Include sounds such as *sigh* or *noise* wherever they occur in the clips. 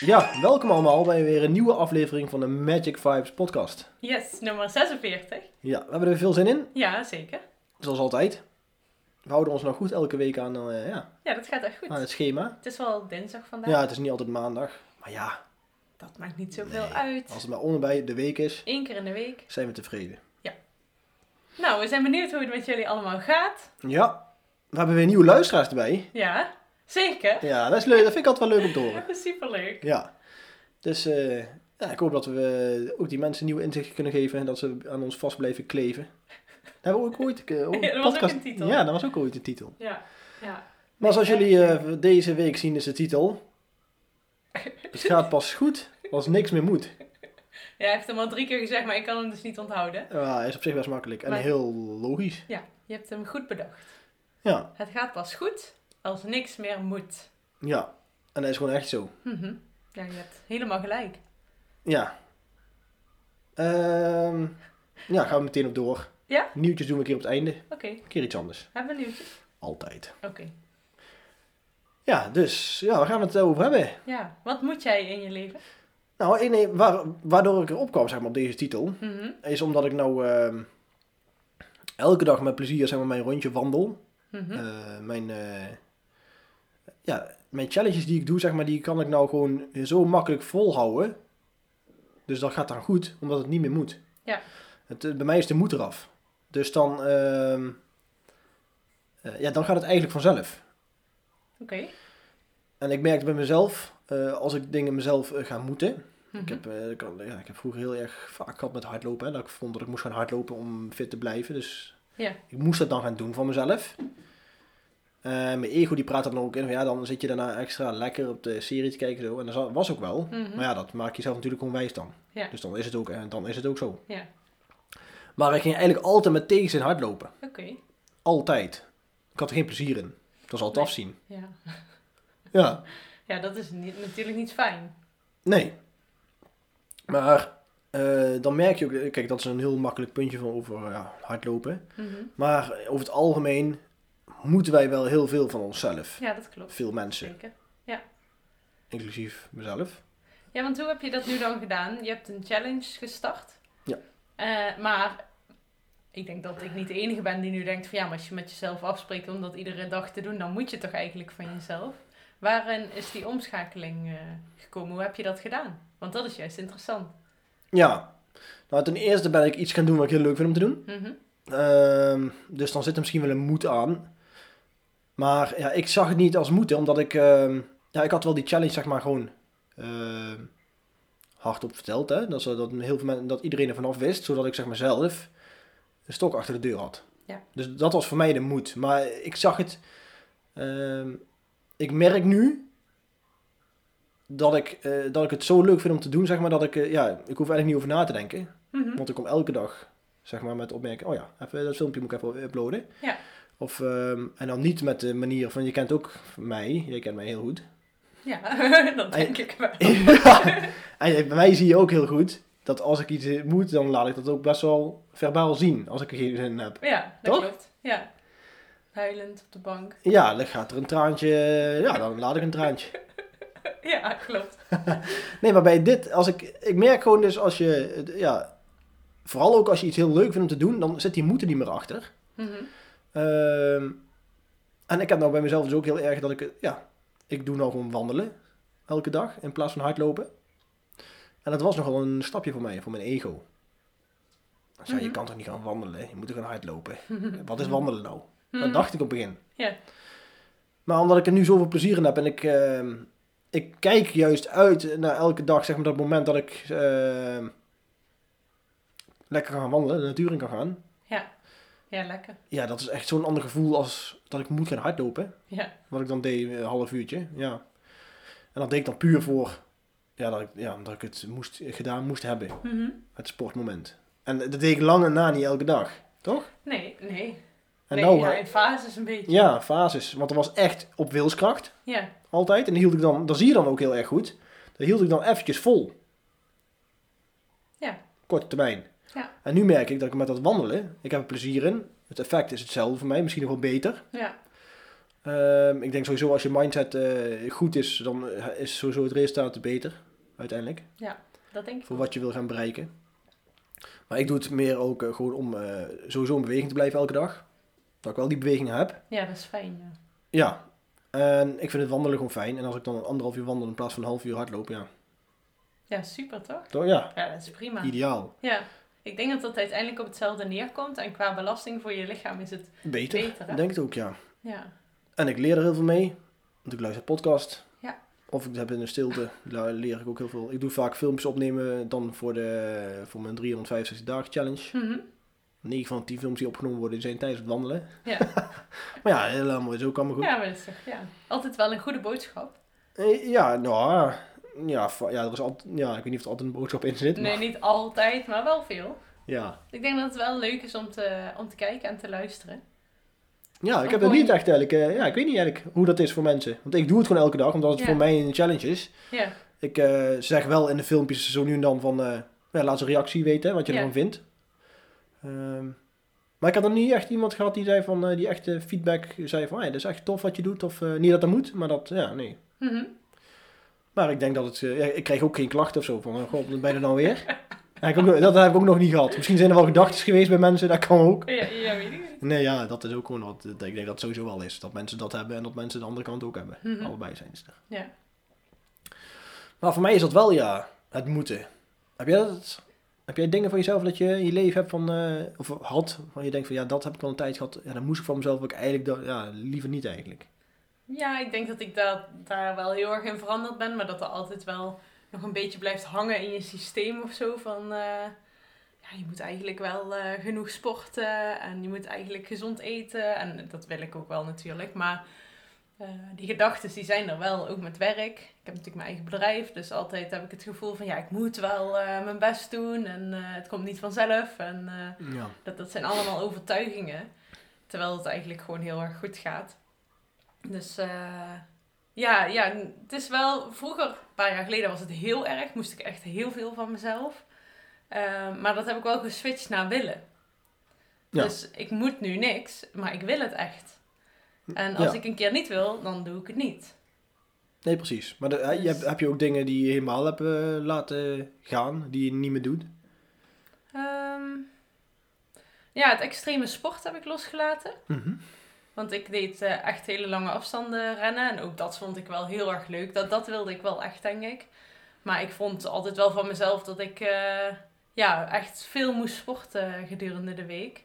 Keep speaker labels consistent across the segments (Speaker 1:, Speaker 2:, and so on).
Speaker 1: Ja, welkom allemaal bij weer een nieuwe aflevering van de Magic Vibes podcast.
Speaker 2: Yes, nummer 46.
Speaker 1: Ja, we hebben er veel zin in,
Speaker 2: Ja, zeker.
Speaker 1: zoals altijd. We houden ons nog goed elke week aan, eh, ja,
Speaker 2: Ja, dat gaat echt
Speaker 1: aan
Speaker 2: goed.
Speaker 1: het schema.
Speaker 2: Het is wel dinsdag vandaag.
Speaker 1: Ja, het is niet altijd maandag, maar ja,
Speaker 2: Dat maakt niet zoveel
Speaker 1: Nee. als
Speaker 2: uit.
Speaker 1: het maar onderbij de week is,
Speaker 2: Eén keer in de week.
Speaker 1: zijn we tevreden.
Speaker 2: Nou, we zijn benieuwd hoe het met jullie allemaal gaat.
Speaker 1: Ja, we hebben weer nieuwe luisteraars erbij.
Speaker 2: Ja, zeker.
Speaker 1: Ja, dat is leuk. Dat vind ik altijd wel leuk om te horen.
Speaker 2: Dat is superleuk.
Speaker 1: Ja. Dus eh, ja, ik hoop dat we eh, ook die mensen nieuwe inzichten kunnen geven en dat ze aan ons vast blijven kleven. Dat hebben we ook ooit.
Speaker 2: *laughs*
Speaker 1: eh, ook een
Speaker 2: Ja, dat was ook
Speaker 1: podcast-
Speaker 2: een titel.
Speaker 1: Ja, dat was ook ooit de titel.
Speaker 2: Ja, ja.
Speaker 1: Maar zoals jullie eh, deze week zien is de titel.
Speaker 2: *laughs*
Speaker 1: Het gaat pas goed als niks meer moet.
Speaker 2: Ja, hij heeft hem al drie keer gezegd, maar ik kan hem dus niet onthouden.
Speaker 1: Ja, is op zich best makkelijk en
Speaker 2: Maar-
Speaker 1: heel logisch.
Speaker 2: Ja, je hebt hem goed bedacht.
Speaker 1: Ja,
Speaker 2: Het gaat pas goed als niks meer moet.
Speaker 1: ja. En dat is gewoon echt zo.
Speaker 2: Mhm. Ja, je hebt helemaal gelijk.
Speaker 1: Ja. Ehm, ja, gaan we meteen op door.
Speaker 2: Ja?
Speaker 1: Nieuwtjes doen we een keer op het einde. Een
Speaker 2: Oké,
Speaker 1: keer iets anders.
Speaker 2: hebben we nieuwtjes?
Speaker 1: Altijd.
Speaker 2: Oké.
Speaker 1: Ja, dus ja, waar gaan we het over hebben?
Speaker 2: Ja, wat moet jij in je leven?
Speaker 1: Nou, één ding waar, waardoor ik erop kwam zeg maar, op deze titel,
Speaker 2: Mhm.
Speaker 1: is omdat ik nou ehm, elke dag met plezier zeg maar, mijn rondje wandel.
Speaker 2: Mhm.
Speaker 1: Eh, mijn, eh, ja, mijn challenges die ik doe, zeg maar, die kan ik nou gewoon zo makkelijk volhouden. Dus dat gaat dan goed, omdat het niet meer moet.
Speaker 2: Ja.
Speaker 1: Het, eh, bij mij is de moed eraf. Dus dan, ehm, eh, ja, dan gaat het eigenlijk vanzelf.
Speaker 2: Oké. Mhm.
Speaker 1: En ik merkte bij mezelf, eh, als ik dingen mezelf eh, ga moeten,
Speaker 2: Mhm.
Speaker 1: Ik heb, eh, ik, had- ja, ik heb vroeger heel erg vaak gehad met hardlopen. Hè, dat ik vond dat ik moest gaan hardlopen om fit te blijven. Dus
Speaker 2: Ja.
Speaker 1: ik moest dat dan gaan doen van mezelf. Eh, mijn ego die praat er dan ook in. van, Ja, dan zit je daarna extra lekker op de serie te kijken. Zo. En dat za- was ook wel.
Speaker 2: Mhm.
Speaker 1: Maar ja, dat maak je zelf natuurlijk gewoon wijs dan.
Speaker 2: Ja.
Speaker 1: Dus dan is, het ook, en dan is het ook zo.
Speaker 2: Ja,
Speaker 1: Maar ik ging eigenlijk altijd met tegenzin hardlopen.
Speaker 2: oké.
Speaker 1: Altijd. Ik had er geen plezier in. Het was altijd
Speaker 2: Nee.
Speaker 1: afzien.
Speaker 2: Ja.
Speaker 1: Ja.
Speaker 2: ja, dat is niet, natuurlijk niet fijn.
Speaker 1: Nee. Maar eh, dan merk je ook, kijk, dat is een heel makkelijk puntje van over eh, ja, hardlopen.
Speaker 2: Mhm.
Speaker 1: Maar over het algemeen moeten wij wel heel veel van onszelf.
Speaker 2: Ja, dat klopt.
Speaker 1: Veel mensen,
Speaker 2: Zeker.
Speaker 1: inclusief mezelf.
Speaker 2: Ja, want hoe heb je dat nu dan gedaan? Je hebt een challenge gestart.
Speaker 1: Ja.
Speaker 2: Eh, maar ik denk dat ik niet de enige ben die nu denkt van ja, maar als je met jezelf afspreekt om dat iedere dag te doen, dan moet je toch eigenlijk van jezelf. Waarin is die omschakeling eh, gekomen? Hoe heb je dat gedaan? Want dat is juist interessant.
Speaker 1: Ja. Nou, ten eerste ben ik iets gaan doen wat ik heel leuk vind om te doen.
Speaker 2: Mhm.
Speaker 1: Ehm, dus dan zit er misschien wel een moed aan. Maar ja, ik zag het niet als moed, hè, omdat ik... ehm, ja, ik had wel die challenge, zeg maar, gewoon ehm, hardop verteld. Hè? Dat, ze- dat, heel veel mensen, dat iedereen ervan af wist, zodat ik zeg maar zelf een stok achter de deur had.
Speaker 2: Ja.
Speaker 1: Dus dat was voor mij de moed. Maar ik zag het... ehm, ik merk nu dat ik, eh, dat ik het zo leuk vind om te doen, zeg maar, dat ik... eh, ja, ik hoef eigenlijk niet over na te denken.
Speaker 2: Mhm.
Speaker 1: Want ik kom elke dag, zeg maar, met opmerkingen. Oh ja, even dat filmpje moet ik even uploaden.
Speaker 2: Ja.
Speaker 1: Of, ehm, en dan niet met de manier van, je kent ook mij. Jij kent mij heel
Speaker 2: *laughs*
Speaker 1: goed.
Speaker 2: Ja, dat denk ik wel.
Speaker 1: en bij mij zie je ook heel goed dat als ik iets moet, dan laat ik dat ook best wel verbaal zien. Als ik er geen zin in heb.
Speaker 2: Ja, dat
Speaker 1: Toch?
Speaker 2: klopt. Ja. Huilend op de bank. *laughs*
Speaker 1: Ja, dan gaat er een traantje. Ja, dan laat ik een traantje.
Speaker 2: Ja, klopt.
Speaker 1: Nee, maar bij dit, als ik, ik merk gewoon dus als je, eh, ja, vooral ook als je iets heel leuk vindt om te doen, dan zit die moed er niet meer achter.
Speaker 2: Mhm.
Speaker 1: Ehm, en ik heb nou bij mezelf dus ook heel erg dat ik, ja, ik doe nou gewoon wandelen elke dag in plaats van hardlopen. En dat was nogal een stapje voor mij, voor mijn ego. Ik zei, je
Speaker 2: Mhm.
Speaker 1: kan toch niet gaan wandelen, je moet toch gaan
Speaker 2: *laughs*
Speaker 1: hardlopen. Wat is wandelen nou? Dat dacht ik op het begin.
Speaker 2: Mhm. Ja.
Speaker 1: Maar omdat ik er nu zoveel plezier in heb en ik, ehm, ik kijk juist uit naar elke dag, zeg maar dat moment dat ik ehm, lekker kan gaan wandelen, de natuur in kan gaan.
Speaker 2: Ja, lekker.
Speaker 1: Ja, dat is echt zo'n ander gevoel als dat ik moet gaan hardlopen.
Speaker 2: Ja.
Speaker 1: Wat ik dan deed, een half uurtje. Ja. En dat deed ik dan puur voor, ja, dat ik, ja, dat ik het moest, gedaan moest hebben.
Speaker 2: Mhm.
Speaker 1: Het sportmoment. En dat deed ik lang en na niet elke dag. Toch?
Speaker 2: Nee, nee.
Speaker 1: En
Speaker 2: nee
Speaker 1: nou,
Speaker 2: ja,
Speaker 1: ja,
Speaker 2: in fases een beetje.
Speaker 1: ja, fases. Want dat was echt op wilskracht.
Speaker 2: Ja.
Speaker 1: Altijd. En die hield ik dan, dat zie je dan ook heel erg goed. Dat hield ik dan eventjes vol.
Speaker 2: Ja.
Speaker 1: Korte termijn.
Speaker 2: Ja.
Speaker 1: En nu merk ik dat ik met dat wandelen, ik heb er plezier in. Het effect is hetzelfde voor mij, misschien nog wel beter.
Speaker 2: Ja.
Speaker 1: Ehm, ik denk sowieso als je mindset eh, goed is, dan eh, is sowieso het resultaat beter. Uiteindelijk.
Speaker 2: Dat denk ik.
Speaker 1: Voor
Speaker 2: wel.
Speaker 1: wat je wil gaan bereiken. Maar ik doe het meer ook eh, gewoon om eh, sowieso in beweging te blijven elke dag. Dat ik wel die beweging heb.
Speaker 2: Ja, dat is fijn. Ja.
Speaker 1: Ja, en ik vind het wandelen gewoon fijn. En als ik dan anderhalf uur wandel in plaats van een half uur hardloop, ja.
Speaker 2: ja, super toch?
Speaker 1: Toch, ja,
Speaker 2: Ja, dat is prima.
Speaker 1: ideaal.
Speaker 2: Ja. Ik denk dat dat uiteindelijk op hetzelfde neerkomt. En qua belasting voor je lichaam is het
Speaker 1: Beter.
Speaker 2: beter. hè?
Speaker 1: Ik Denk het ook, ja.
Speaker 2: Ja.
Speaker 1: En ik leer er heel veel mee. Want ik luister podcast.
Speaker 2: Ja.
Speaker 1: Of ik heb in de stilte, daar leer ik ook heel veel. Ik doe vaak filmpjes opnemen dan voor, de, voor mijn 365 dagen challenge.
Speaker 2: Mhm.
Speaker 1: 9 van 10 filmpjes die opgenomen worden zijn tijdens het wandelen.
Speaker 2: Ja.
Speaker 1: *laughs* maar ja, helemaal mooi, zo kan me goed.
Speaker 2: Ja, maar dat is toch, ja. Altijd wel een goede boodschap.
Speaker 1: Eh, Ja, nou, ja, fa- ja, er is altijd, ja, ik weet niet of er altijd een boodschap in zit.
Speaker 2: Nee,
Speaker 1: maar-
Speaker 2: niet altijd, maar wel veel.
Speaker 1: ja.
Speaker 2: Ik denk dat het wel leuk is om te, om te kijken en te luisteren.
Speaker 1: Ja, ik
Speaker 2: Ook
Speaker 1: heb het
Speaker 2: mooi.
Speaker 1: niet echt eigenlijk. eh, ja, ik weet niet eigenlijk hoe dat is voor mensen. Want ik doe het gewoon elke dag, omdat het
Speaker 2: Ja.
Speaker 1: voor mij een challenge is.
Speaker 2: Ja,
Speaker 1: Ik eh, zeg wel in de filmpjes zo nu en dan van, eh, ja, laat een reactie weten, hè, wat je
Speaker 2: Ja.
Speaker 1: ervan vindt. Ehm, maar ik had nog niet echt iemand gehad die zei van, eh, die echt eh, feedback zei van, hey, dat is echt tof wat je doet. Of eh, niet dat dat moet, maar dat, ja, nee.
Speaker 2: Mhm.
Speaker 1: Maar ik denk dat het, eh, ja, ik kreeg ook geen klachten of zo van, eh, god, wat ben je er nou weer? Ja, ik ook nog- dat heb ik ook nog niet gehad. Misschien zijn er wel gedachten geweest bij mensen, dat kan ook.
Speaker 2: ja, ja weet ik niet.
Speaker 1: Nee, ja, dat is ook gewoon wat. Ik denk dat het sowieso wel is. Dat mensen dat hebben en dat mensen de andere kant ook hebben.
Speaker 2: Mhm.
Speaker 1: Allebei zijn ze er.
Speaker 2: Ja.
Speaker 1: Maar voor mij is dat wel, ja, het moeten. Heb jij, dat, heb jij dingen van jezelf dat je in je leven hebt van, eh, of had, waar je denkt van, ja, dat heb ik al een tijd gehad. Ja, dat moest ik van mezelf ook eigenlijk, dat, ja, liever niet eigenlijk.
Speaker 2: Ja, ik denk dat ik daar daar wel heel erg in veranderd ben, maar dat er altijd wel nog een beetje blijft hangen in je systeem of zo. Van eh, ja, je moet eigenlijk wel eh, genoeg sporten en je moet eigenlijk gezond eten. En dat wil ik ook wel natuurlijk, maar eh, die gedachten die zijn er wel, ook met werk. Ik heb natuurlijk mijn eigen bedrijf, dus altijd heb ik het gevoel van ja, ik moet wel eh, mijn best doen en eh, het komt niet vanzelf. En, eh,
Speaker 1: Ja.
Speaker 2: dat, dat zijn allemaal overtuigingen. Terwijl het eigenlijk gewoon heel erg goed gaat. Dus eh, ja, ja, het is wel... Vroeger, een paar jaar geleden, was het heel erg. Moest ik echt heel veel van mezelf. Eh, maar dat heb ik wel geswitcht naar willen.
Speaker 1: Ja.
Speaker 2: Dus ik moet nu niks, maar ik wil het echt. En als
Speaker 1: Hm, Ja.
Speaker 2: ik een keer niet wil, dan doe ik het niet.
Speaker 1: Nee, precies. Maar de- eh, je
Speaker 2: Dus-
Speaker 1: hebt, heb je ook dingen die je helemaal hebt eh, laten gaan, die je niet meer doet?
Speaker 2: Ehm, ja, het extreme sport heb ik losgelaten.
Speaker 1: Mhm.
Speaker 2: Want ik deed eh, echt hele lange afstanden rennen. En ook dat vond ik wel heel erg leuk. Dat, dat wilde ik wel echt, denk ik. Maar ik vond altijd wel van mezelf dat ik eh, ja, echt veel moest sporten gedurende de week.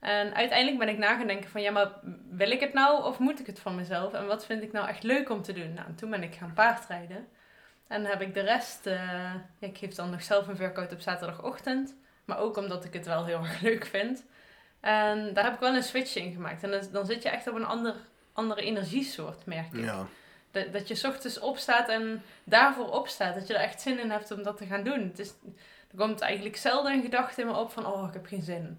Speaker 2: En uiteindelijk ben ik nagedenken van ja, maar wil ik het nou of moet ik het van mezelf? En wat vind ik nou echt leuk om te doen? Nou, en toen ben ik gaan paardrijden. En heb ik de rest, eh, ja, ik geef dan nog zelf een workout op zaterdagochtend. Maar ook omdat ik het wel heel erg *laughs* leuk vind. En daar heb ik wel een switch in gemaakt. En dan, dan zit je echt op een ander, andere energiesoort, merk ik.
Speaker 1: Ja.
Speaker 2: Dat, dat je 's ochtends opstaat en daarvoor opstaat. Dat je er echt zin in hebt om dat te gaan doen. Het is, er komt eigenlijk zelden een gedachte in me op van... Oh, ik heb geen zin.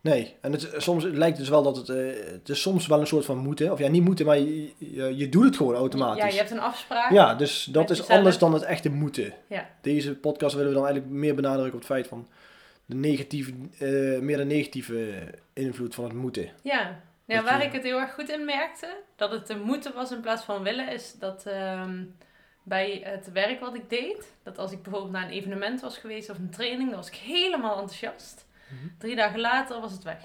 Speaker 1: Nee, en het, soms het lijkt dus wel dat het, eh, het is soms wel een soort van moeten. Of ja, niet moeten, maar je, je, je doet het gewoon automatisch.
Speaker 2: Ja, je hebt een afspraak.
Speaker 1: Ja, dus dat
Speaker 2: met
Speaker 1: is
Speaker 2: jezelf.
Speaker 1: anders dan het echte moeten.
Speaker 2: Ja.
Speaker 1: Deze podcast willen we dan eigenlijk meer benadrukken op het feit van de negatieve, eh, meer de negatieve invloed van het moeten.
Speaker 2: Ja, ja
Speaker 1: Dat
Speaker 2: waar
Speaker 1: je-
Speaker 2: ik het heel erg goed in merkte, dat het te moeten was in plaats van willen, is dat ehm, bij het werk wat ik deed, dat als ik bijvoorbeeld naar een evenement was geweest of een training, dan was ik helemaal enthousiast.
Speaker 1: Mhm.
Speaker 2: Drie dagen later was het weg.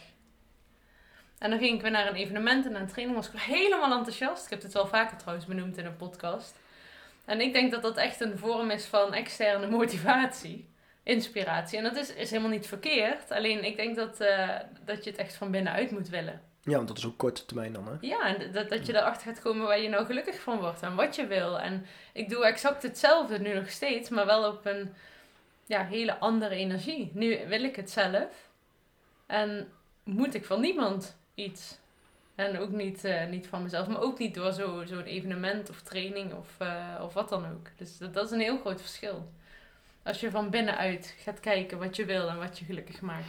Speaker 2: En dan ging ik weer naar een evenement en naar een training was ik weer *laughs* helemaal enthousiast. Ik heb dit wel vaker trouwens benoemd in een podcast. En ik denk dat dat echt een vorm is van externe motivatie, inspiratie. En dat is, is helemaal niet verkeerd. Alleen ik denk dat, eh, dat je het echt van binnenuit moet willen.
Speaker 1: Ja, want dat is ook korte termijn dan, hè?
Speaker 2: Ja, en dat, dat je erachter gaat komen waar je nou gelukkig van wordt en wat je wil. En ik doe exact hetzelfde nu nog steeds, maar wel op een ja, hele andere energie. Nu wil ik het zelf. En moet ik van niemand iets. En ook niet, eh, niet van mezelf, maar ook niet door zo- zo'n evenement of training of, eh, of wat dan ook. Dus dat, dat is een heel groot verschil. Als je van binnenuit gaat kijken wat je wil en wat je gelukkig maakt.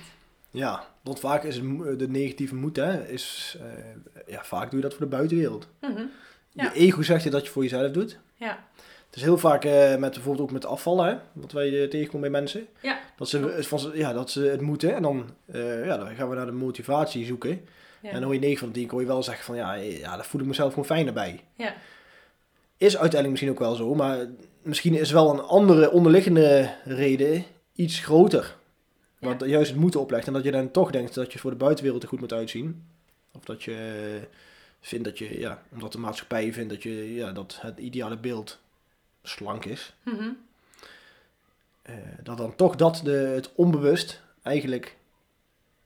Speaker 1: Ja, want vaak is het, mo- de negatieve moed, hè, is, eh, ja, vaak doe je dat voor de buitenwereld.
Speaker 2: Mhm.
Speaker 1: Je
Speaker 2: Ja.
Speaker 1: ego zegt je dat je voor jezelf doet.
Speaker 2: Ja.
Speaker 1: Het is heel vaak eh, met bijvoorbeeld ook met afvallen, hè, wat wij eh, tegenkomen bij mensen.
Speaker 2: Ja.
Speaker 1: Dat ze, eh, van, ja, dat ze het moeten en dan, eh, ja, dan gaan we naar de motivatie zoeken.
Speaker 2: Ja.
Speaker 1: En dan hoor je 9 van de 10 hoor je wel zeggen van ja, eh, ja, daar voel ik mezelf gewoon fijner bij.
Speaker 2: Ja.
Speaker 1: Is uiteindelijk misschien ook wel zo, maar misschien is wel een andere onderliggende reden iets groter.
Speaker 2: Ja.
Speaker 1: Wat juist het moeten oplegt en dat je dan toch denkt dat je voor de buitenwereld er goed moet uitzien. Of dat je eh, vindt dat je, ja, omdat de maatschappij vindt dat, je, ja, dat het ideale beeld slank is.
Speaker 2: Mhm.
Speaker 1: eh, dat dan toch dat de, het onbewust eigenlijk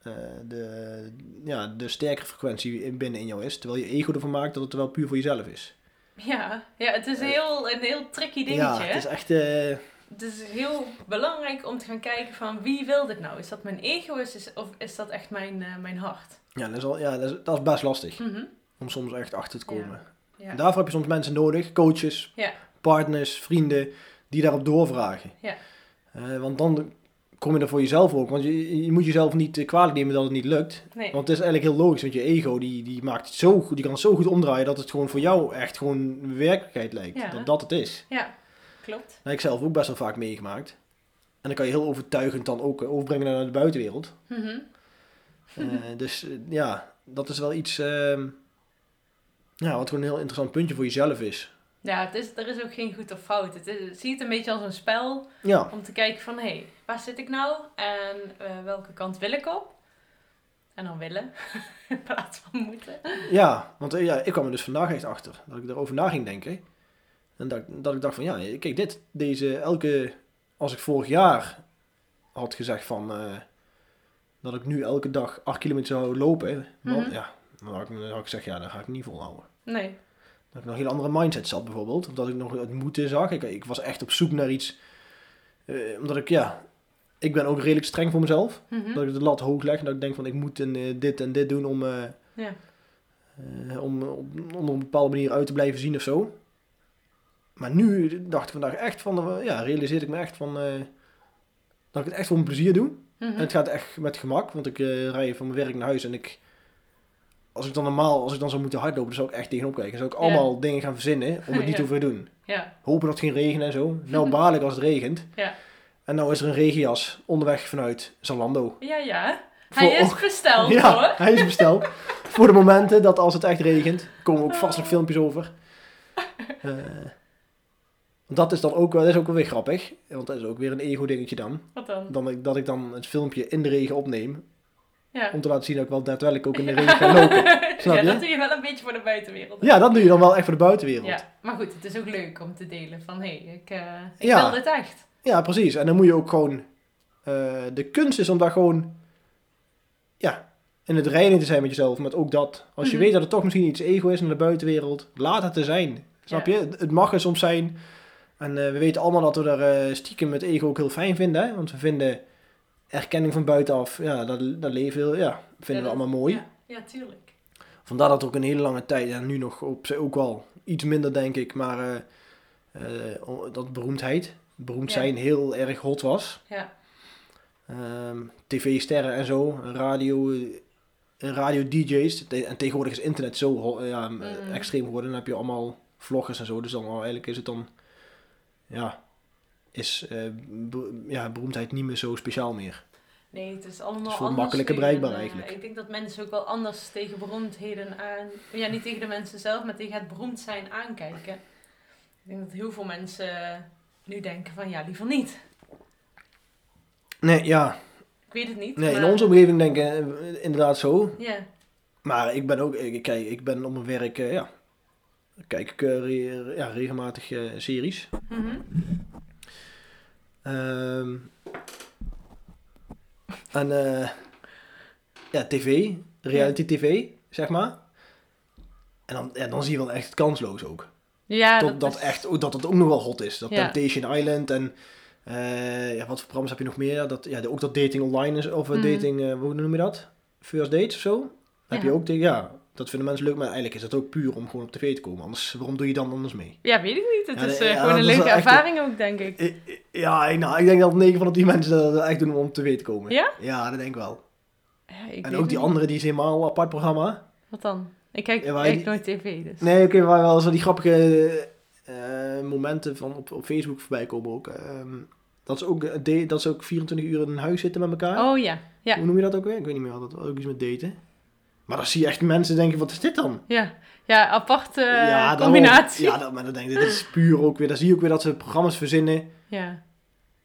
Speaker 1: eh, de, ja, de sterkere frequentie in- binnen in jou is. Terwijl je ego ervan maakt dat het wel puur voor jezelf is.
Speaker 2: ja. ja, het is
Speaker 1: Eh,
Speaker 2: heel, een heel tricky dingetje.
Speaker 1: ja,
Speaker 2: hè?
Speaker 1: het is echt... eh,
Speaker 2: Het is heel belangrijk om te gaan kijken van wie wil dit nou? Is dat mijn ego is, is- of is dat echt mijn, eh, mijn hart?
Speaker 1: ja, dat is, al, ja dat, is, dat is best lastig
Speaker 2: Mhm.
Speaker 1: om soms echt achter te komen.
Speaker 2: Ja.
Speaker 1: En daarvoor heb je soms mensen nodig, coaches,
Speaker 2: Ja.
Speaker 1: partners, vrienden, die daarop doorvragen.
Speaker 2: Ja.
Speaker 1: Eh, want dan kom je er voor jezelf ook. Want je, je moet jezelf niet eh, kwalijk nemen dat het niet lukt.
Speaker 2: Nee.
Speaker 1: Want het is eigenlijk heel logisch, want je ego die, die maakt het zo goed, die kan het zo goed omdraaien dat het gewoon voor jou echt gewoon werkelijkheid lijkt.
Speaker 2: Ja.
Speaker 1: Dat dat het is.
Speaker 2: Ja, klopt.
Speaker 1: Dat heb ik zelf ook best wel vaak meegemaakt. En dan kan je heel overtuigend dan ook eh, overbrengen naar de buitenwereld.
Speaker 2: Mhm.
Speaker 1: Eh, dus eh, ja, dat is wel iets ehm, ja, wat gewoon een heel interessant puntje voor jezelf is.
Speaker 2: Ja, het is, er is ook geen goed of fout. Het is, zie het een beetje als een spel
Speaker 1: Ja,
Speaker 2: om te kijken van hé, hey, waar zit ik nou en eh, welke kant wil ik op? En dan willen *laughs* in plaats van moeten.
Speaker 1: ja want eh, ja, ik kwam er dus vandaag echt achter dat ik erover na ging denken. En dat, dat ik dacht van ja, kijk dit, deze elke, als ik vorig jaar had gezegd van eh, dat ik nu elke dag 8 kilometer zou lopen, dan,
Speaker 2: Mhm.
Speaker 1: ja, dan had, ik, dan had ik gezegd ja, dat ga ik niet volhouden.
Speaker 2: Nee.
Speaker 1: Dat ik nog een heel andere mindset zat bijvoorbeeld, omdat ik nog het moeten zag. Ik, ik was echt op zoek naar iets, eh, omdat ik ja, ik ben ook redelijk streng voor mezelf.
Speaker 2: Mhm.
Speaker 1: Dat ik de lat hoog leg en dat ik denk van ik moet een, eh, dit en dit doen om, eh,
Speaker 2: Ja.
Speaker 1: eh, om, om, om op een bepaalde manier uit te blijven zien of zo. Maar nu dacht ik vandaag echt van, eh, ja, realiseerde ik me echt van eh, dat ik het echt voor mijn plezier doe.
Speaker 2: Mhm.
Speaker 1: En het gaat echt met gemak, want ik eh, rij van mijn werk naar huis en ik, als ik dan normaal, als ik dan zou moeten hardlopen, dan zou ik echt tegenop kijken. Dan zou ik
Speaker 2: Ja.
Speaker 1: allemaal dingen gaan verzinnen
Speaker 2: *laughs*
Speaker 1: om het niet
Speaker 2: Ja.
Speaker 1: te hoeven doen.
Speaker 2: Ja,
Speaker 1: Hopen dat het geen regen en zo.
Speaker 2: *laughs*
Speaker 1: Nou baal ik als het regent.
Speaker 2: Ja.
Speaker 1: En nou is er een regenjas onderweg vanuit Zalando.
Speaker 2: ja, ja. Hij is besteld
Speaker 1: *laughs* Ja,
Speaker 2: hoor.
Speaker 1: hij is
Speaker 2: *laughs*
Speaker 1: besteld. voor de momenten dat als het echt regent, komen ook vast nog filmpjes
Speaker 2: *laughs*
Speaker 1: over. Eh, dat is dan ook, wel- dat is ook wel weer grappig, want dat is ook weer een ego-dingetje dan.
Speaker 2: Wat dan?
Speaker 1: dan ik, dat ik dan het filmpje in de regen opneem,
Speaker 2: Ja.
Speaker 1: om te laten zien dat ik wel daadwerkelijk ook in de regen ga lopen. Snap
Speaker 2: *laughs* ja,
Speaker 1: je?
Speaker 2: dat doe je wel een beetje voor de buitenwereld.
Speaker 1: Ja, dat doe je dan wel echt voor de buitenwereld. Ja,
Speaker 2: Ja, maar goed, het is ook leuk om te delen van hé, hey, ik, eh, ik
Speaker 1: Ja.
Speaker 2: wil dit echt.
Speaker 1: precies. En dan moet je ook gewoon, eh, de kunst is om daar gewoon, ja, in het reinen te zijn met jezelf, met ook dat. Als je
Speaker 2: Mhm.
Speaker 1: weet dat het toch misschien iets ego is in de buitenwereld, laat het er zijn. Snap
Speaker 2: Ja.
Speaker 1: je? Het- Het mag er soms zijn. En eh, we weten allemaal dat we daar eh, stiekem met ego ook heel fijn vinden. Hè? Want we vinden erkenning van buitenaf, ja, dat, dat leven heel, ja, vinden
Speaker 2: Ja,
Speaker 1: we
Speaker 2: dat-
Speaker 1: allemaal mooi.
Speaker 2: Ja, ja, tuurlijk.
Speaker 1: Vandaar dat ook een hele lange tijd, en nu nog op zich ook wel iets minder denk ik, maar eh, eh, o- dat beroemdheid, beroemd
Speaker 2: Ja.
Speaker 1: zijn heel erg hot was.
Speaker 2: Ja.
Speaker 1: Ehm, TV-sterren en zo, radio, eh, radio-dj's. Te- En tegenwoordig is internet zo ho- eh, ja, m- eh,
Speaker 2: Mhm.
Speaker 1: extreem geworden. Dan heb je allemaal vloggers en zo. Dus dan wel, eigenlijk is het dan, ja, is eh, be- ja, beroemdheid niet meer zo speciaal meer.
Speaker 2: Nee, het is allemaal
Speaker 1: Het is veel
Speaker 2: anders
Speaker 1: makkelijker
Speaker 2: tegen,
Speaker 1: bereikbaar
Speaker 2: eh,
Speaker 1: eigenlijk.
Speaker 2: ik denk dat mensen ook wel anders tegen beroemdheden aan... Ja, niet tegen de mensen zelf, maar tegen het beroemd zijn aankijken. Ik denk dat heel veel mensen nu denken van ja, liever niet.
Speaker 1: Nee, ja,
Speaker 2: Ik weet het niet.
Speaker 1: nee, in
Speaker 2: maar-
Speaker 1: onze omgeving denk ik eh, inderdaad zo.
Speaker 2: Ja,
Speaker 1: Maar ik ben ook, ik, kijk, ik ben op mijn werk, eh, ja, kijk ik eh, re- ja, regelmatig eh, series.
Speaker 2: Mhm.
Speaker 1: Ehm, en eh, ja, tv, reality tv, zeg maar. En dan, ja, dan zie je wel echt kansloos ook.
Speaker 2: ja
Speaker 1: dat, dat,
Speaker 2: is-
Speaker 1: echt, dat het ook nog wel hot is. Dat
Speaker 2: Ja.
Speaker 1: Temptation Island en Eh, ja, wat voor programma's heb je nog meer? Dat, ja, de- ook dat dating online is, of eh,
Speaker 2: Mhm.
Speaker 1: dating, eh, hoe noem je dat? First dates of zo? Heb
Speaker 2: Ja.
Speaker 1: je ook, de, ja, dat vinden mensen leuk, maar eigenlijk is dat ook puur om gewoon op tv te komen. Anders, waarom doe je dan anders mee?
Speaker 2: Ja, weet ik niet. Het
Speaker 1: Ja,
Speaker 2: is
Speaker 1: nee,
Speaker 2: eh,
Speaker 1: ja,
Speaker 2: gewoon een
Speaker 1: dat is
Speaker 2: leuke
Speaker 1: wel echt-
Speaker 2: ervaring ook, denk ik.
Speaker 1: Eh, eh, Ja, ik- nou, ik denk dat 9 van de 10 mensen dat dat echt doen om op tv te komen.
Speaker 2: Ja?
Speaker 1: Ja, dat denk ik wel.
Speaker 2: Ja, ik
Speaker 1: en
Speaker 2: weet
Speaker 1: ook die
Speaker 2: niet.
Speaker 1: andere, die is helemaal een apart programma.
Speaker 2: Wat dan? Ik kijk
Speaker 1: Ja, maar
Speaker 2: kijk
Speaker 1: die-
Speaker 2: nooit tv, dus.
Speaker 1: Nee, oké, waar wel zo die grappige eh, momenten van op, op Facebook voorbij komen ook. Ehm, dat, ze ook eh, da- dat ze ook 24 uur in een huis zitten met elkaar.
Speaker 2: Oh ja, ja.
Speaker 1: Hoe noem je dat ook weer? Ik weet niet meer, dat ook iets met daten. Maar dan zie je echt mensen denken, wat is dit dan?
Speaker 2: Ja, ja aparte eh,
Speaker 1: daarom.
Speaker 2: combinatie.
Speaker 1: Ja, dat, maar dan denk ik, dit is puur ook weer. Dan zie je ook weer dat ze programma's verzinnen.
Speaker 2: Ja.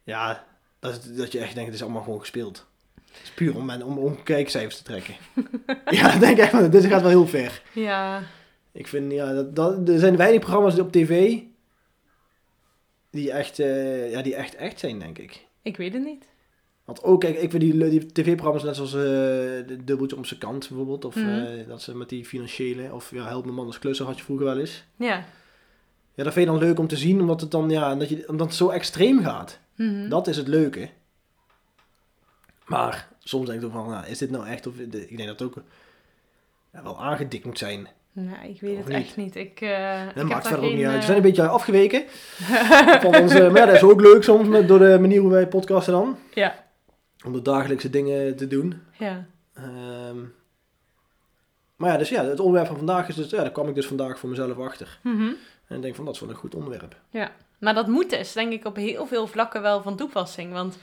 Speaker 1: Ja, dat, is- dat je echt denkt, het is allemaal gewoon gespeeld. Het is puur om, men- om, om kijkcijfers te trekken. ja, dan denk ik echt, van, dit gaat wel heel ver.
Speaker 2: ja.
Speaker 1: Ik vind, ja, dat, dat, er zijn weinig programma's op tv die echt, eh, ja, die echt echt zijn, denk ik.
Speaker 2: ik weet het niet.
Speaker 1: Want ook, kijk, ik vind die, le- die tv-programma's net zoals eh, de Dubbeltje om zijn kant bijvoorbeeld. Of
Speaker 2: Mhm.
Speaker 1: eh, dat ze met die financiële, of ja, Help mijn man als klusser had je vroeger wel eens.
Speaker 2: Ja.
Speaker 1: Ja, dat vind je dan leuk om te zien, omdat het dan, ja, dat je, omdat het zo extreem gaat.
Speaker 2: Mhm.
Speaker 1: Dat is het leuke. Maar soms denk ik ook van, nou, is dit nou echt, of ik denk dat het ook ja, wel aangedikt moet zijn.
Speaker 2: Nou, ik weet
Speaker 1: Of
Speaker 2: het
Speaker 1: niet?
Speaker 2: echt niet. Ik, eh ik
Speaker 1: Dat
Speaker 2: heb daar
Speaker 1: maakt verder ook
Speaker 2: geen,
Speaker 1: niet uit. We
Speaker 2: eh,
Speaker 1: zijn een beetje afgeweken *laughs*
Speaker 2: *laughs*
Speaker 1: van onze, maar ja, dat is ook leuk soms, met, door de manier hoe wij podcasten dan.
Speaker 2: Ja.
Speaker 1: Om de dagelijkse dingen te doen.
Speaker 2: Ja.
Speaker 1: Ehm, maar ja, dus ja, het onderwerp van vandaag is dus, ja, daar kwam ik dus vandaag voor mezelf achter.
Speaker 2: Mhm.
Speaker 1: En ik denk van, dat is wel een goed onderwerp.
Speaker 2: Maar dat moet dus, denk ik, op heel veel vlakken wel van toepassing. Want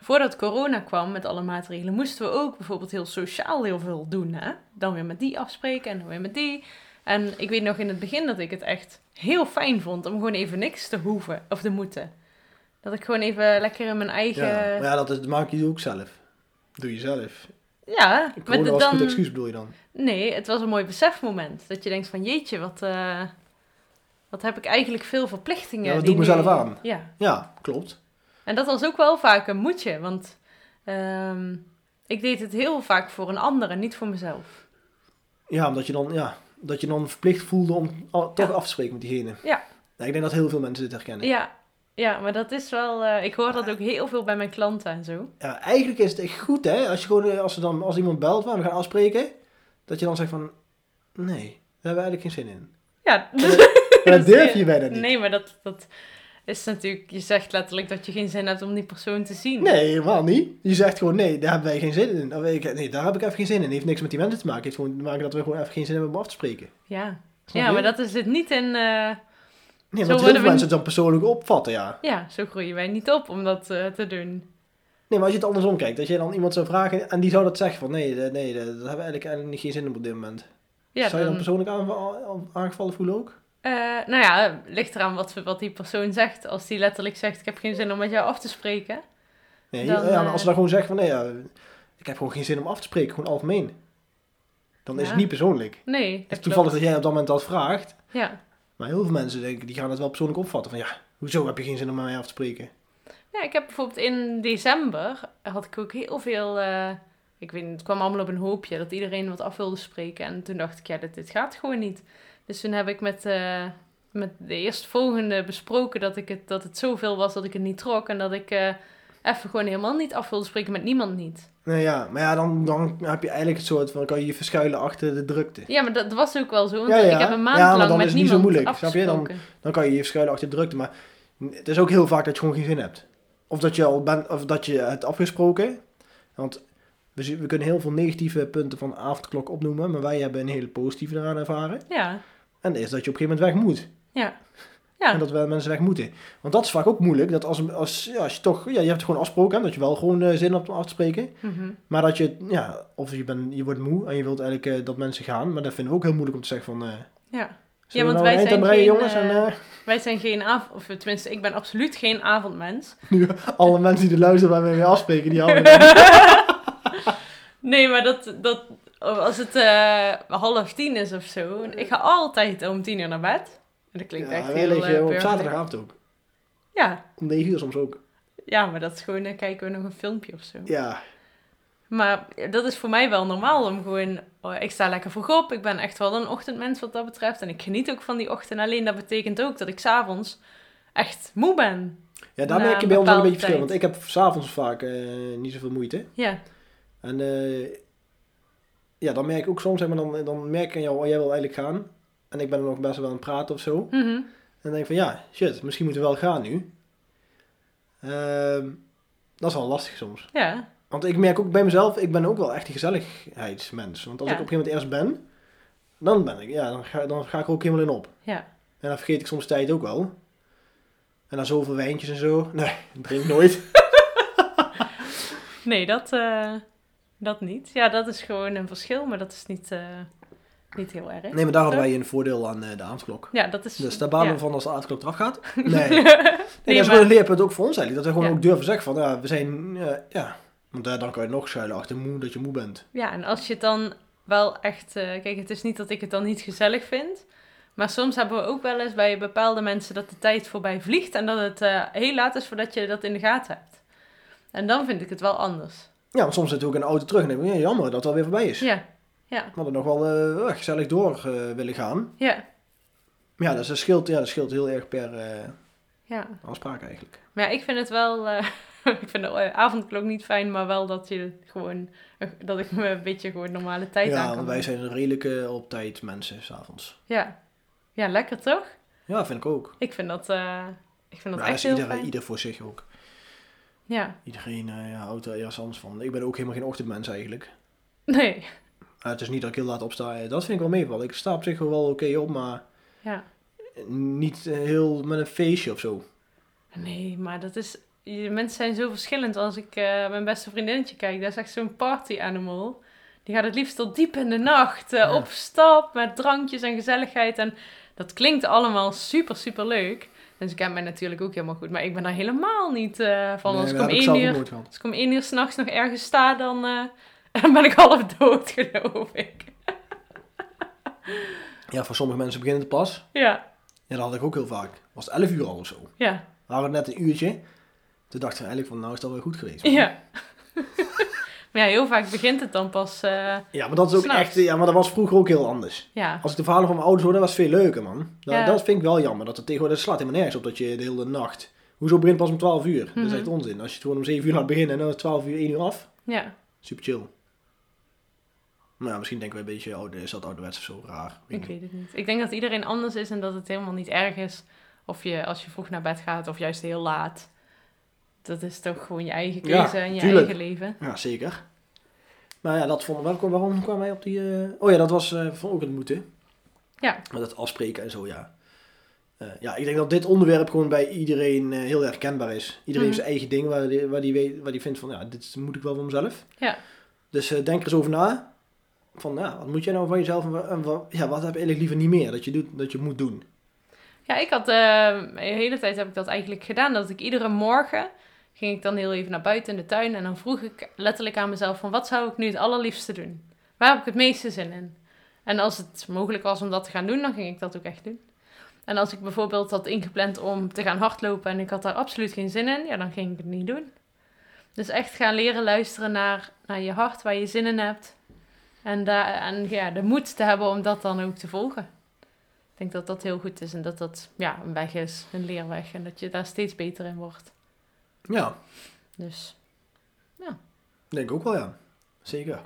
Speaker 2: voordat corona kwam met alle maatregelen, moesten we ook bijvoorbeeld heel sociaal heel veel doen. Hè? Dan weer met die afspreken en dan weer met die. En ik weet nog in het begin dat ik het echt heel fijn vond om gewoon even niks te hoeven of te moeten. Dat ik gewoon even lekker in mijn eigen.
Speaker 1: Ja, maar
Speaker 2: Ja,
Speaker 1: ja, dat, is, dat maak je ook zelf. Doe je zelf.
Speaker 2: maar
Speaker 1: Corona was een
Speaker 2: dan.
Speaker 1: goed excuus bedoel je dan?
Speaker 2: Nee, het was een mooi besefmoment. Dat je denkt van jeetje, wat, eh, wat heb ik eigenlijk veel verplichtingen.
Speaker 1: Ja, wat
Speaker 2: die
Speaker 1: doe ik mezelf
Speaker 2: nu-
Speaker 1: aan?
Speaker 2: Ja,
Speaker 1: Ja, klopt.
Speaker 2: En dat was ook wel vaak een moetje, want ehm, ik deed het heel vaak voor een ander en niet voor mezelf.
Speaker 1: Ja, omdat je dan, ja, dat je dan verplicht voelde om al- toch
Speaker 2: Ja.
Speaker 1: af te spreken met diegene.
Speaker 2: Ja.
Speaker 1: ik denk dat heel veel mensen dit herkennen. Ja.
Speaker 2: Ja, ja maar dat is wel. eh, ik hoor dat ook heel veel bij mijn klanten en zo.
Speaker 1: eigenlijk is het echt goed, hè. Als, je gewoon, eh, als, er dan, als iemand belt waar we gaan afspreken, dat je dan zegt van, nee, daar hebben we eigenlijk geen zin
Speaker 2: *laughs*
Speaker 1: in.
Speaker 2: Ja,
Speaker 1: Maar dat
Speaker 2: is-
Speaker 1: durf je bijna niet.
Speaker 2: Nee, maar dat, dat is natuurlijk. Je zegt letterlijk dat je geen zin hebt om die persoon te zien.
Speaker 1: Nee, helemaal niet. Je zegt gewoon, nee, daar hebben wij geen zin in. Of ik- Nee, daar heb ik even geen zin in. Het heeft niks met die mensen te maken. Het heeft gewoon te maken dat we gewoon even geen zin hebben om af te spreken.
Speaker 2: Ja,
Speaker 1: Snap
Speaker 2: ja
Speaker 1: je?
Speaker 2: maar dat is het niet in. eh,
Speaker 1: Nee,
Speaker 2: zo
Speaker 1: want heel
Speaker 2: worden
Speaker 1: veel
Speaker 2: we
Speaker 1: mensen het dan persoonlijk opvatten, ja.
Speaker 2: ja, zo groeien wij niet op om dat eh, te doen.
Speaker 1: Nee, maar als je het andersom kijkt. Als je dan iemand zou vragen en die zou dat zeggen van, nee, eh, nee, eh, dat hebben we eigenlijk, eigenlijk geen zin in op dit moment.
Speaker 2: Ja,
Speaker 1: zou je dan
Speaker 2: dan-
Speaker 1: persoonlijk aanva- aangevallen voelen ook?
Speaker 2: Eh, nou ja, ligt eraan wat, wat die persoon zegt. Als die letterlijk zegt, ik heb geen zin om met jou af te spreken.
Speaker 1: Nee,
Speaker 2: Dan,
Speaker 1: ja,
Speaker 2: eh,
Speaker 1: maar als ze dan gewoon zeggen van, nee, ja, ik heb gewoon geen zin om af te spreken. Gewoon algemeen. Dan is
Speaker 2: Ja.
Speaker 1: het niet persoonlijk.
Speaker 2: Nee, dat
Speaker 1: Het is
Speaker 2: klopt.
Speaker 1: toevallig dat jij op dat moment dat vraagt.
Speaker 2: Ja.
Speaker 1: Maar heel veel mensen denken, die gaan het wel persoonlijk opvatten. Van ja, hoezo heb je geen zin om met mij af te spreken?
Speaker 2: ja, ik heb bijvoorbeeld in december had ik ook heel veel... eh, ik weet niet, het kwam allemaal op een hoopje dat iedereen wat af wilde spreken. En toen dacht ik, ja, dit, dit gaat gewoon niet. Dus toen heb ik met, eh, met de eerstvolgende besproken dat, ik het, dat het zoveel was dat ik het niet trok. En dat ik eh, even gewoon helemaal niet af wilde spreken met niemand niet.
Speaker 1: Nou ja, maar ja, dan, dan heb je eigenlijk het soort van, kan je je verschuilen achter de drukte.
Speaker 2: Ja, maar dat was ook wel zo. Want
Speaker 1: Ja, ja.
Speaker 2: ik heb een maand
Speaker 1: Ja, maar
Speaker 2: lang
Speaker 1: dan
Speaker 2: met
Speaker 1: is het niet
Speaker 2: niemand
Speaker 1: zo moeilijk, snap je?
Speaker 2: afgesproken.
Speaker 1: Dan- Dan kan je je verschuilen achter de drukte, maar het is ook heel vaak dat je gewoon geen zin hebt. Of dat je al bent, of dat je hebt afgesproken. Want we, zien- we kunnen heel veel negatieve punten van de avondklok opnoemen, maar wij hebben een hele positieve eraan ervaren.
Speaker 2: Ja,
Speaker 1: En dat is dat je op een gegeven moment weg moet.
Speaker 2: ja. Ja.
Speaker 1: En dat wel mensen weg moeten. Want dat is vaak ook moeilijk, dat als, als, ja, als je toch, ja, je hebt gewoon afgesproken, hè, dat je wel gewoon eh, zin hebt om af te spreken.
Speaker 2: Mhm.
Speaker 1: Maar dat je, ja, of je, bent, je wordt moe en je wilt eigenlijk eh, dat mensen gaan. Maar dat vinden we ook heel moeilijk om te zeggen van... eh
Speaker 2: ja.
Speaker 1: zullen
Speaker 2: want
Speaker 1: we nou
Speaker 2: wij
Speaker 1: een eind
Speaker 2: zijn
Speaker 1: aan breien,
Speaker 2: geen,
Speaker 1: jongens. En
Speaker 2: eh,
Speaker 1: eh,
Speaker 2: Wij zijn geen avond, of tenminste, ik ben absoluut geen avondmens.
Speaker 1: nu eh, alle *laughs* mensen die er luisteren waar we mee afspreken, die
Speaker 2: *laughs*
Speaker 1: houden
Speaker 2: Nee, maar dat, dat als het eh, half tien is of zo, ik ga altijd om tien uur naar bed. En dat klinkt echt
Speaker 1: ja, wij
Speaker 2: heel eh,
Speaker 1: liggen op
Speaker 2: burgerlijk.
Speaker 1: zaterdagavond ook.
Speaker 2: Ja.
Speaker 1: Om 9 uur soms ook.
Speaker 2: ja, maar dat is gewoon, dan kijken we nog een filmpje of zo.
Speaker 1: Ja,
Speaker 2: Maar dat is voor mij wel normaal om gewoon, oh, ik sta lekker vroeg op. Ik ben echt wel een ochtendmens wat dat betreft. En ik geniet ook van die ochtend. Alleen dat betekent ook dat ik s'avonds echt moe ben.
Speaker 1: Ja, daar
Speaker 2: Na
Speaker 1: merk je bij ons wel
Speaker 2: bepaalde
Speaker 1: een beetje verschil.
Speaker 2: tijd.
Speaker 1: Want ik heb s'avonds vaak eh, niet zoveel moeite.
Speaker 2: Ja,
Speaker 1: En eh, ja, dan merk ik ook soms, zeg maar, dan, dan merk ik aan jou, oh, jij wil eigenlijk gaan. En ik ben er nog best wel aan het praten of zo. En
Speaker 2: Mhm.
Speaker 1: dan denk ik van, ja, shit, misschien moeten we wel gaan nu. Ehm, dat is wel lastig soms.
Speaker 2: ja.
Speaker 1: Want ik merk ook bij mezelf, ik ben ook wel echt een gezelligheidsmens. Want als
Speaker 2: Ja.
Speaker 1: ik op een gegeven moment eerst ben, dan ben ik, ja, dan ga, dan ga ik er ook helemaal in op.
Speaker 2: Ja.
Speaker 1: En dan vergeet ik soms tijd ook wel. En dan zoveel wijntjes en zo. *laughs* Nee, ik drink nooit.
Speaker 2: Nee, dat, eh, dat niet. Ja, dat is gewoon een verschil, maar dat is niet, eh, niet heel erg.
Speaker 1: Nee, maar daar hadden wij een voordeel aan eh, de avondklok.
Speaker 2: Ja, dat is...
Speaker 1: Dus daar banen
Speaker 2: ja. *laughs*
Speaker 1: we van als de avondklok eraf gaat. Nee.
Speaker 2: nee,
Speaker 1: nee, dat is
Speaker 2: maar-
Speaker 1: gewoon een leerpunt ook voor ons eigenlijk. Dat we gewoon
Speaker 2: Ja.
Speaker 1: ook durven zeggen van, ja, we zijn, eh, ja. Want eh, dan kan je nog schuilen achter moe dat je moe bent.
Speaker 2: Ja, en als je het dan wel echt... eh, kijk, het is niet dat ik het dan niet gezellig vind. Maar soms hebben we ook wel eens bij bepaalde mensen dat de tijd voorbij vliegt. En dat het eh, heel laat is voordat je dat in de gaten hebt. En dan vind ik het wel anders.
Speaker 1: Ja, want soms zitten we ook in de auto terug en denken we, ja, jammer dat het alweer voorbij is.
Speaker 2: Ja, ja,
Speaker 1: We hadden nog wel eh, gezellig door eh, willen gaan.
Speaker 2: ja,
Speaker 1: Maar ja, dus dat scheelt, ja, dat scheelt heel erg per eh,
Speaker 2: ja.
Speaker 1: afspraak eigenlijk.
Speaker 2: Maar ja, ik vind het wel... eh, *laughs* ik vind de eh, avondklok niet fijn, maar wel dat je gewoon... eh, Dat ik me een beetje gewoon normale tijd aan
Speaker 1: ja,
Speaker 2: kan
Speaker 1: want
Speaker 2: doen.
Speaker 1: wij zijn redelijke op tijd mensen s'avonds.
Speaker 2: Ja. ja, lekker toch?
Speaker 1: Ja, vind ik ook.
Speaker 2: Ik vind dat, eh, ik vind dat
Speaker 1: Maar dat
Speaker 2: echt
Speaker 1: is
Speaker 2: heel
Speaker 1: ieder,
Speaker 2: fijn.
Speaker 1: ieder voor zich ook.
Speaker 2: Ja, *laughs*
Speaker 1: Iedereen eh, ja, houdt er ergens anders van. Ik ben ook helemaal geen ochtendmens eigenlijk.
Speaker 2: nee.
Speaker 1: Eh, het is niet dat ik heel laat opsta. eh, Dat vind ik wel meevallen. Ik sta op zich wel oké op, maar
Speaker 2: Ja.
Speaker 1: niet eh, heel met een feestje of zo.
Speaker 2: Nee, maar dat is... je- Mensen zijn zo verschillend. Als ik eh, mijn beste vriendinnetje kijk, dat is echt zo'n party animal. Die gaat het liefst tot diep in de nacht eh,
Speaker 1: Ja.
Speaker 2: op stap met drankjes en gezelligheid. En dat klinkt allemaal super, super leuk. En ze kent mij natuurlijk ook helemaal goed. Maar ik ben daar helemaal niet eh, van.
Speaker 1: Nee,
Speaker 2: als, ik
Speaker 1: dat heb
Speaker 2: om
Speaker 1: ik
Speaker 2: één
Speaker 1: zelf ook
Speaker 2: uur,
Speaker 1: nooit gehad.
Speaker 2: als ik om één uur s'nachts nog ergens sta, dan, eh, *laughs* dan ben ik half dood, geloof ik.
Speaker 1: Ja, voor sommige mensen beginnen het pas.
Speaker 2: Ja,
Speaker 1: Ja, dat had ik ook heel vaak. Was het 11 uur al of zo.
Speaker 2: ja,
Speaker 1: We hadden net een uurtje. Toen dachten we eigenlijk van, nou is dat wel goed geweest.
Speaker 2: ja. *laughs* maar ja, heel vaak begint het dan pas... eh,
Speaker 1: Ja, maar dat is ook
Speaker 2: S'nachts.
Speaker 1: echt... Ja, maar dat was vroeger ook heel anders.
Speaker 2: ja,
Speaker 1: Als ik de verhalen van mijn ouders hoorde, was het veel leuker, man. Dat,
Speaker 2: Ja.
Speaker 1: dat vind ik wel jammer. Dat het tegenwoordig dat slaat helemaal nergens op dat je de hele nacht... Hoezo begint pas om 12 uur? Dat
Speaker 2: Mhm.
Speaker 1: is echt onzin. Als je het gewoon om 7 uur laat beginnen en dan is 12 uur 1 uur af.
Speaker 2: ja.
Speaker 1: Super chill. Maar ja, Nou, misschien denken we een beetje, oh, is dat ouderwets of zo raar?
Speaker 2: Ik
Speaker 1: Weet ik niet.
Speaker 2: weet het niet. Ik denk dat iedereen anders is en dat het helemaal niet erg is of je als je vroeg naar bed gaat of juist heel laat. Dat is toch gewoon je eigen
Speaker 1: Ja,
Speaker 2: keuze en je
Speaker 1: tuurlijk.
Speaker 2: eigen leven.
Speaker 1: Ja, zeker. Maar ja, dat vonden we... Waarom kwamen wij op die... eh, Oh ja, dat was eh, van ook het moeten.
Speaker 2: Ja.
Speaker 1: Met het afspreken en zo, ja. Eh, ja, ik denk dat dit onderwerp gewoon bij iedereen eh, heel herkenbaar is. Iedereen heeft
Speaker 2: Mhm.
Speaker 1: zijn eigen ding waar die, waar, die weet, waar die vindt van, ja, dit moet ik wel voor mezelf.
Speaker 2: Ja.
Speaker 1: Dus eh, denk er eens over na. Van, ja, wat moet jij nou van jezelf en, wa- en wa- ja, wat heb je eigenlijk liever niet meer dat je, doet, dat je moet doen?
Speaker 2: Ja, ik had eh, de hele tijd heb ik dat eigenlijk gedaan. Dat ik iedere morgen ging ik dan heel even naar buiten in de tuin en dan vroeg ik letterlijk aan mezelf van wat zou ik nu het allerliefste doen? Waar heb ik het meeste zin in? En als het mogelijk was om dat te gaan doen, dan ging ik dat ook echt doen. En als ik bijvoorbeeld had ingepland om te gaan hardlopen en ik had daar absoluut geen zin in, ja, dan ging ik het niet doen. Dus echt gaan leren luisteren naar, naar je hart, waar je zin in hebt. En, daar, en ja, de moed te hebben om dat dan ook te volgen. Ik denk dat dat heel goed is en dat dat ja, een weg is, een leerweg. En dat je daar steeds beter in wordt.
Speaker 1: Ja,
Speaker 2: Dus
Speaker 1: denk ik ook wel, ja. Zeker.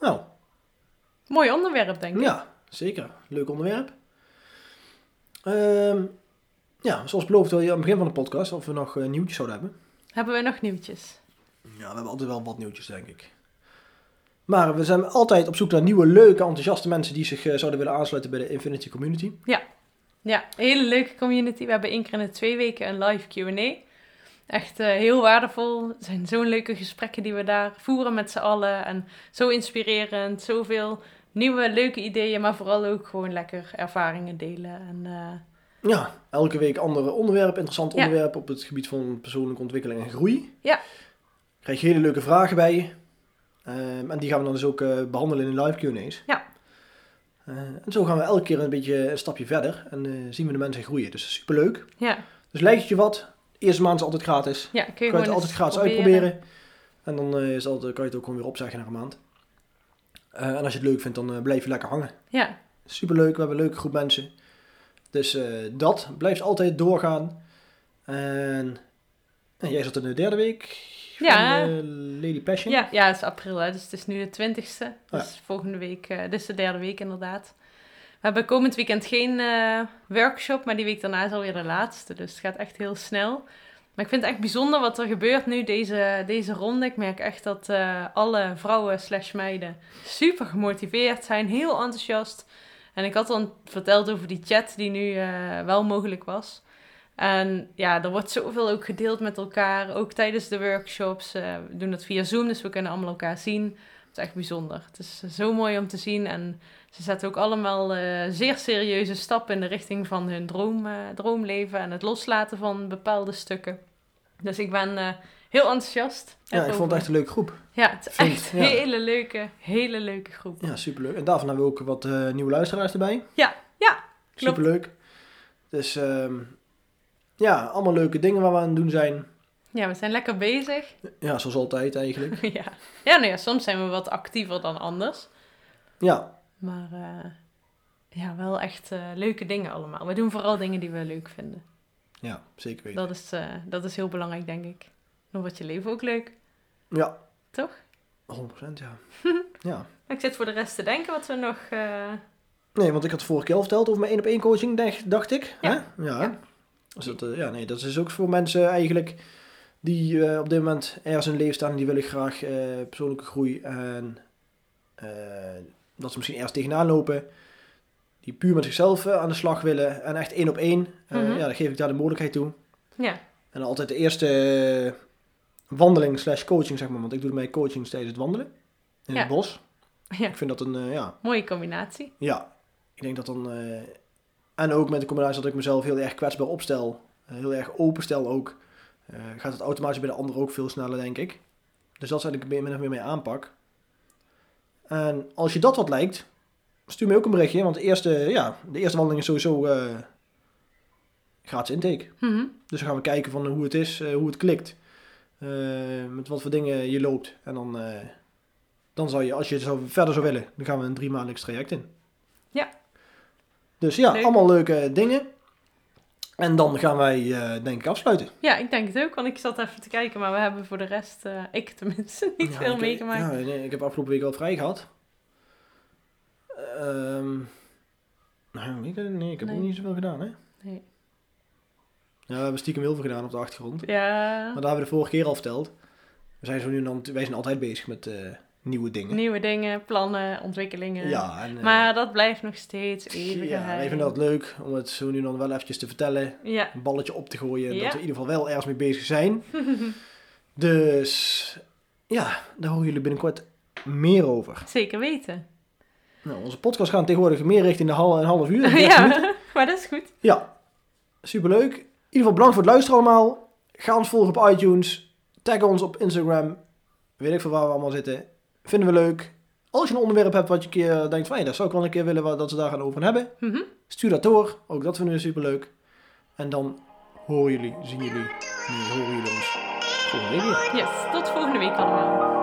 Speaker 1: Nou,
Speaker 2: mooi onderwerp, denk ik.
Speaker 1: Ja, zeker. Leuk onderwerp. Ehm, ja, zoals beloofd wil je aan het begin van de podcast of we nog eh, nieuwtjes zouden hebben.
Speaker 2: Hebben we nog nieuwtjes?
Speaker 1: Ja, we hebben altijd wel wat nieuwtjes, denk ik. Maar we zijn altijd op zoek naar nieuwe, leuke, enthousiaste mensen die zich eh, zouden willen aansluiten bij de Infinity Community.
Speaker 2: Ja, een hele leuke community. We hebben één keer in de twee weken een live Q&A. Echt eh, heel waardevol. Het zijn zo'n leuke gesprekken die we daar voeren met z'n allen. En zo inspirerend, zoveel nieuwe leuke ideeën, maar vooral ook gewoon lekker ervaringen delen. En eh,
Speaker 1: Ja, elke week andere onderwerp, interessant
Speaker 2: Ja.
Speaker 1: onderwerp op het gebied van persoonlijke ontwikkeling en groei.
Speaker 2: Ja.
Speaker 1: Krijg je hele leuke vragen bij. Ehm, en die gaan we dan dus ook eh, behandelen in de live Q&A's.
Speaker 2: Ja.
Speaker 1: Eh, en zo gaan we elke keer een beetje een stapje verder en eh, zien we de mensen groeien. Dus superleuk.
Speaker 2: ja,
Speaker 1: Dus lijkt het je wat? De eerste maand is altijd gratis.
Speaker 2: ja, kun je, gewoon
Speaker 1: Je kan je het
Speaker 2: eens
Speaker 1: altijd gratis uitproberen. En dan eh, is het altijd, kan je het ook gewoon weer opzeggen na een maand. Eh, en als je het leuk vindt, dan eh, blijf je lekker hangen.
Speaker 2: Ja,
Speaker 1: Superleuk, we hebben een leuke groep mensen. Dus eh, dat blijft altijd doorgaan. En, en jij zat in de derde week van
Speaker 2: Ja.
Speaker 1: eh, Lady Passion.
Speaker 2: Ja, ja, het is april, hè, dus het is nu de 20ste.
Speaker 1: ja.
Speaker 2: Dus volgende week, eh dus de derde week inderdaad. We hebben komend weekend geen eh, workshop, maar die week daarna is alweer de laatste. Dus het gaat echt heel snel. Maar ik vind het echt bijzonder wat er gebeurt nu deze, deze ronde. Ik merk echt dat eh, alle vrouwen slash meiden super gemotiveerd zijn, heel enthousiast. En ik had al verteld over die chat die nu eh, wel mogelijk was. En ja, er wordt zoveel ook gedeeld met elkaar, ook tijdens de workshops. Eh, we doen dat via Zoom, dus we kunnen allemaal elkaar zien. Het is echt bijzonder. Het is eh, zo mooi om te zien. En ze zetten ook allemaal eh, zeer serieuze stappen in de richting van hun droom, eh, droomleven en het loslaten van bepaalde stukken. Dus ik ben eh, heel enthousiast.
Speaker 1: Ja, ik vond het echt een leuke groep.
Speaker 2: Ja, het is
Speaker 1: Vind-
Speaker 2: echt een
Speaker 1: ja.
Speaker 2: hele leuke, hele leuke groep.
Speaker 1: Ja, superleuk. En daarvan hebben we ook wat eh, nieuwe luisteraars erbij.
Speaker 2: Ja, ja, klopt.
Speaker 1: Superleuk. Dus ehm, ja, allemaal leuke dingen waar we aan het doen zijn.
Speaker 2: Ja, we zijn lekker
Speaker 1: *laughs*
Speaker 2: bezig.
Speaker 1: Ja, zoals altijd eigenlijk.
Speaker 2: ja. ja, nou ja, soms zijn we wat actiever dan anders.
Speaker 1: Ja,
Speaker 2: Maar eh, ja, wel echt eh, leuke dingen allemaal. We doen vooral dingen die we leuk vinden.
Speaker 1: ja zeker weten.
Speaker 2: Dat is, eh, dat is heel belangrijk, denk ik. Dan wordt je leven ook leuk.
Speaker 1: Ja.
Speaker 2: Toch?
Speaker 1: 100%
Speaker 2: *laughs*
Speaker 1: ja. ja.
Speaker 2: Ik zit voor de rest te denken wat we nog... eh,
Speaker 1: Nee, want ik had vorige keer al verteld over mijn één op één coaching, dacht, dacht ik.
Speaker 2: Ja.
Speaker 1: Hè? Ja.
Speaker 2: Ja.
Speaker 1: Dus dat, eh, ja, nee, dat is ook voor mensen eigenlijk die eh, op dit moment ergens in hun leven staan en die willen graag eh, persoonlijke groei en eh, dat ze misschien ergens tegenaan lopen. Die puur met zichzelf eh, aan de slag willen en echt één op één. Eh,
Speaker 2: Mhm.
Speaker 1: Ja, dan geef ik daar de mogelijkheid toe.
Speaker 2: ja,
Speaker 1: En altijd de eerste eh, wandeling slash coaching, zeg maar. Want ik doe mijn coaching tijdens het wandelen in
Speaker 2: Ja.
Speaker 1: het bos.
Speaker 2: Ja.
Speaker 1: Ik vind dat een, eh, ja,
Speaker 2: mooie combinatie.
Speaker 1: ja, ik denk dat dan. eh, en ook met de combinatie dat ik mezelf heel erg kwetsbaar opstel, eh, heel erg openstel ook, eh, gaat het automatisch bij de ander ook veel sneller, denk ik. Dus dat is eigenlijk meer- min of meer mijn aanpak. En als je dat wat lijkt, stuur me ook een berichtje, want de eerste, ja, de eerste wandeling is sowieso eh gratis intake.
Speaker 2: Mhm.
Speaker 1: Dus dan gaan we kijken van hoe het is, eh, hoe het klikt. Eh, met wat voor dingen je loopt. En dan, eh, dan zou je, als je het zou, verder zou willen, dan gaan we een drie maandelijks traject in.
Speaker 2: Ja.
Speaker 1: Dus ja,
Speaker 2: Leuk.
Speaker 1: allemaal leuke dingen. En dan gaan wij, eh, denk ik, afsluiten.
Speaker 2: Ja, ik denk het ook, want ik zat even te kijken, maar we hebben voor de rest, eh, ik tenminste, *laughs* niet
Speaker 1: Ja,
Speaker 2: veel
Speaker 1: ik-
Speaker 2: meegemaakt.
Speaker 1: Ja, nee, ik heb afgelopen week al vrij gehad. Ehm, nou, weet ik het? nee, ik heb
Speaker 2: Nee.
Speaker 1: ook niet zoveel gedaan, hè?
Speaker 2: Nee.
Speaker 1: Ja, we hebben stiekem heel veel gedaan op de achtergrond.
Speaker 2: Ja,
Speaker 1: Maar daar hebben we de vorige keer al verteld. We zijn zo nu en dan, wij zijn altijd bezig met eh, nieuwe dingen.
Speaker 2: nieuwe dingen, plannen, ontwikkelingen.
Speaker 1: Ja, en, eh,
Speaker 2: Maar dat blijft nog steeds even
Speaker 1: ja,
Speaker 2: geheim.
Speaker 1: ik vind dat leuk om het zo nu en dan wel eventjes te vertellen.
Speaker 2: Ja,
Speaker 1: Een balletje op te gooien.
Speaker 2: Ja.
Speaker 1: Dat we in ieder geval wel ergens mee bezig zijn.
Speaker 2: *laughs*
Speaker 1: dus ja, daar horen jullie binnenkort meer over.
Speaker 2: zeker weten.
Speaker 1: Nou, onze podcast gaan tegenwoordig meer richting de hal- een half
Speaker 2: *laughs*
Speaker 1: uur.
Speaker 2: ja, maar dat is goed.
Speaker 1: Ja, superleuk. In ieder geval bedankt voor het luisteren allemaal. Ga ons volgen op iTunes. Tag ons op Instagram. Weet ik veel waar we allemaal zitten. Vinden we leuk. Als je een onderwerp hebt wat je een keer denkt van... hé, dat zou ik wel een keer willen wa- dat we daar gaan over hebben.
Speaker 2: Mhm.
Speaker 1: Stuur dat door. Ook dat vinden we superleuk. En dan horen jullie, zien jullie, nee, horen jullie ons volgende week weer.
Speaker 2: Yes, tot volgende week allemaal.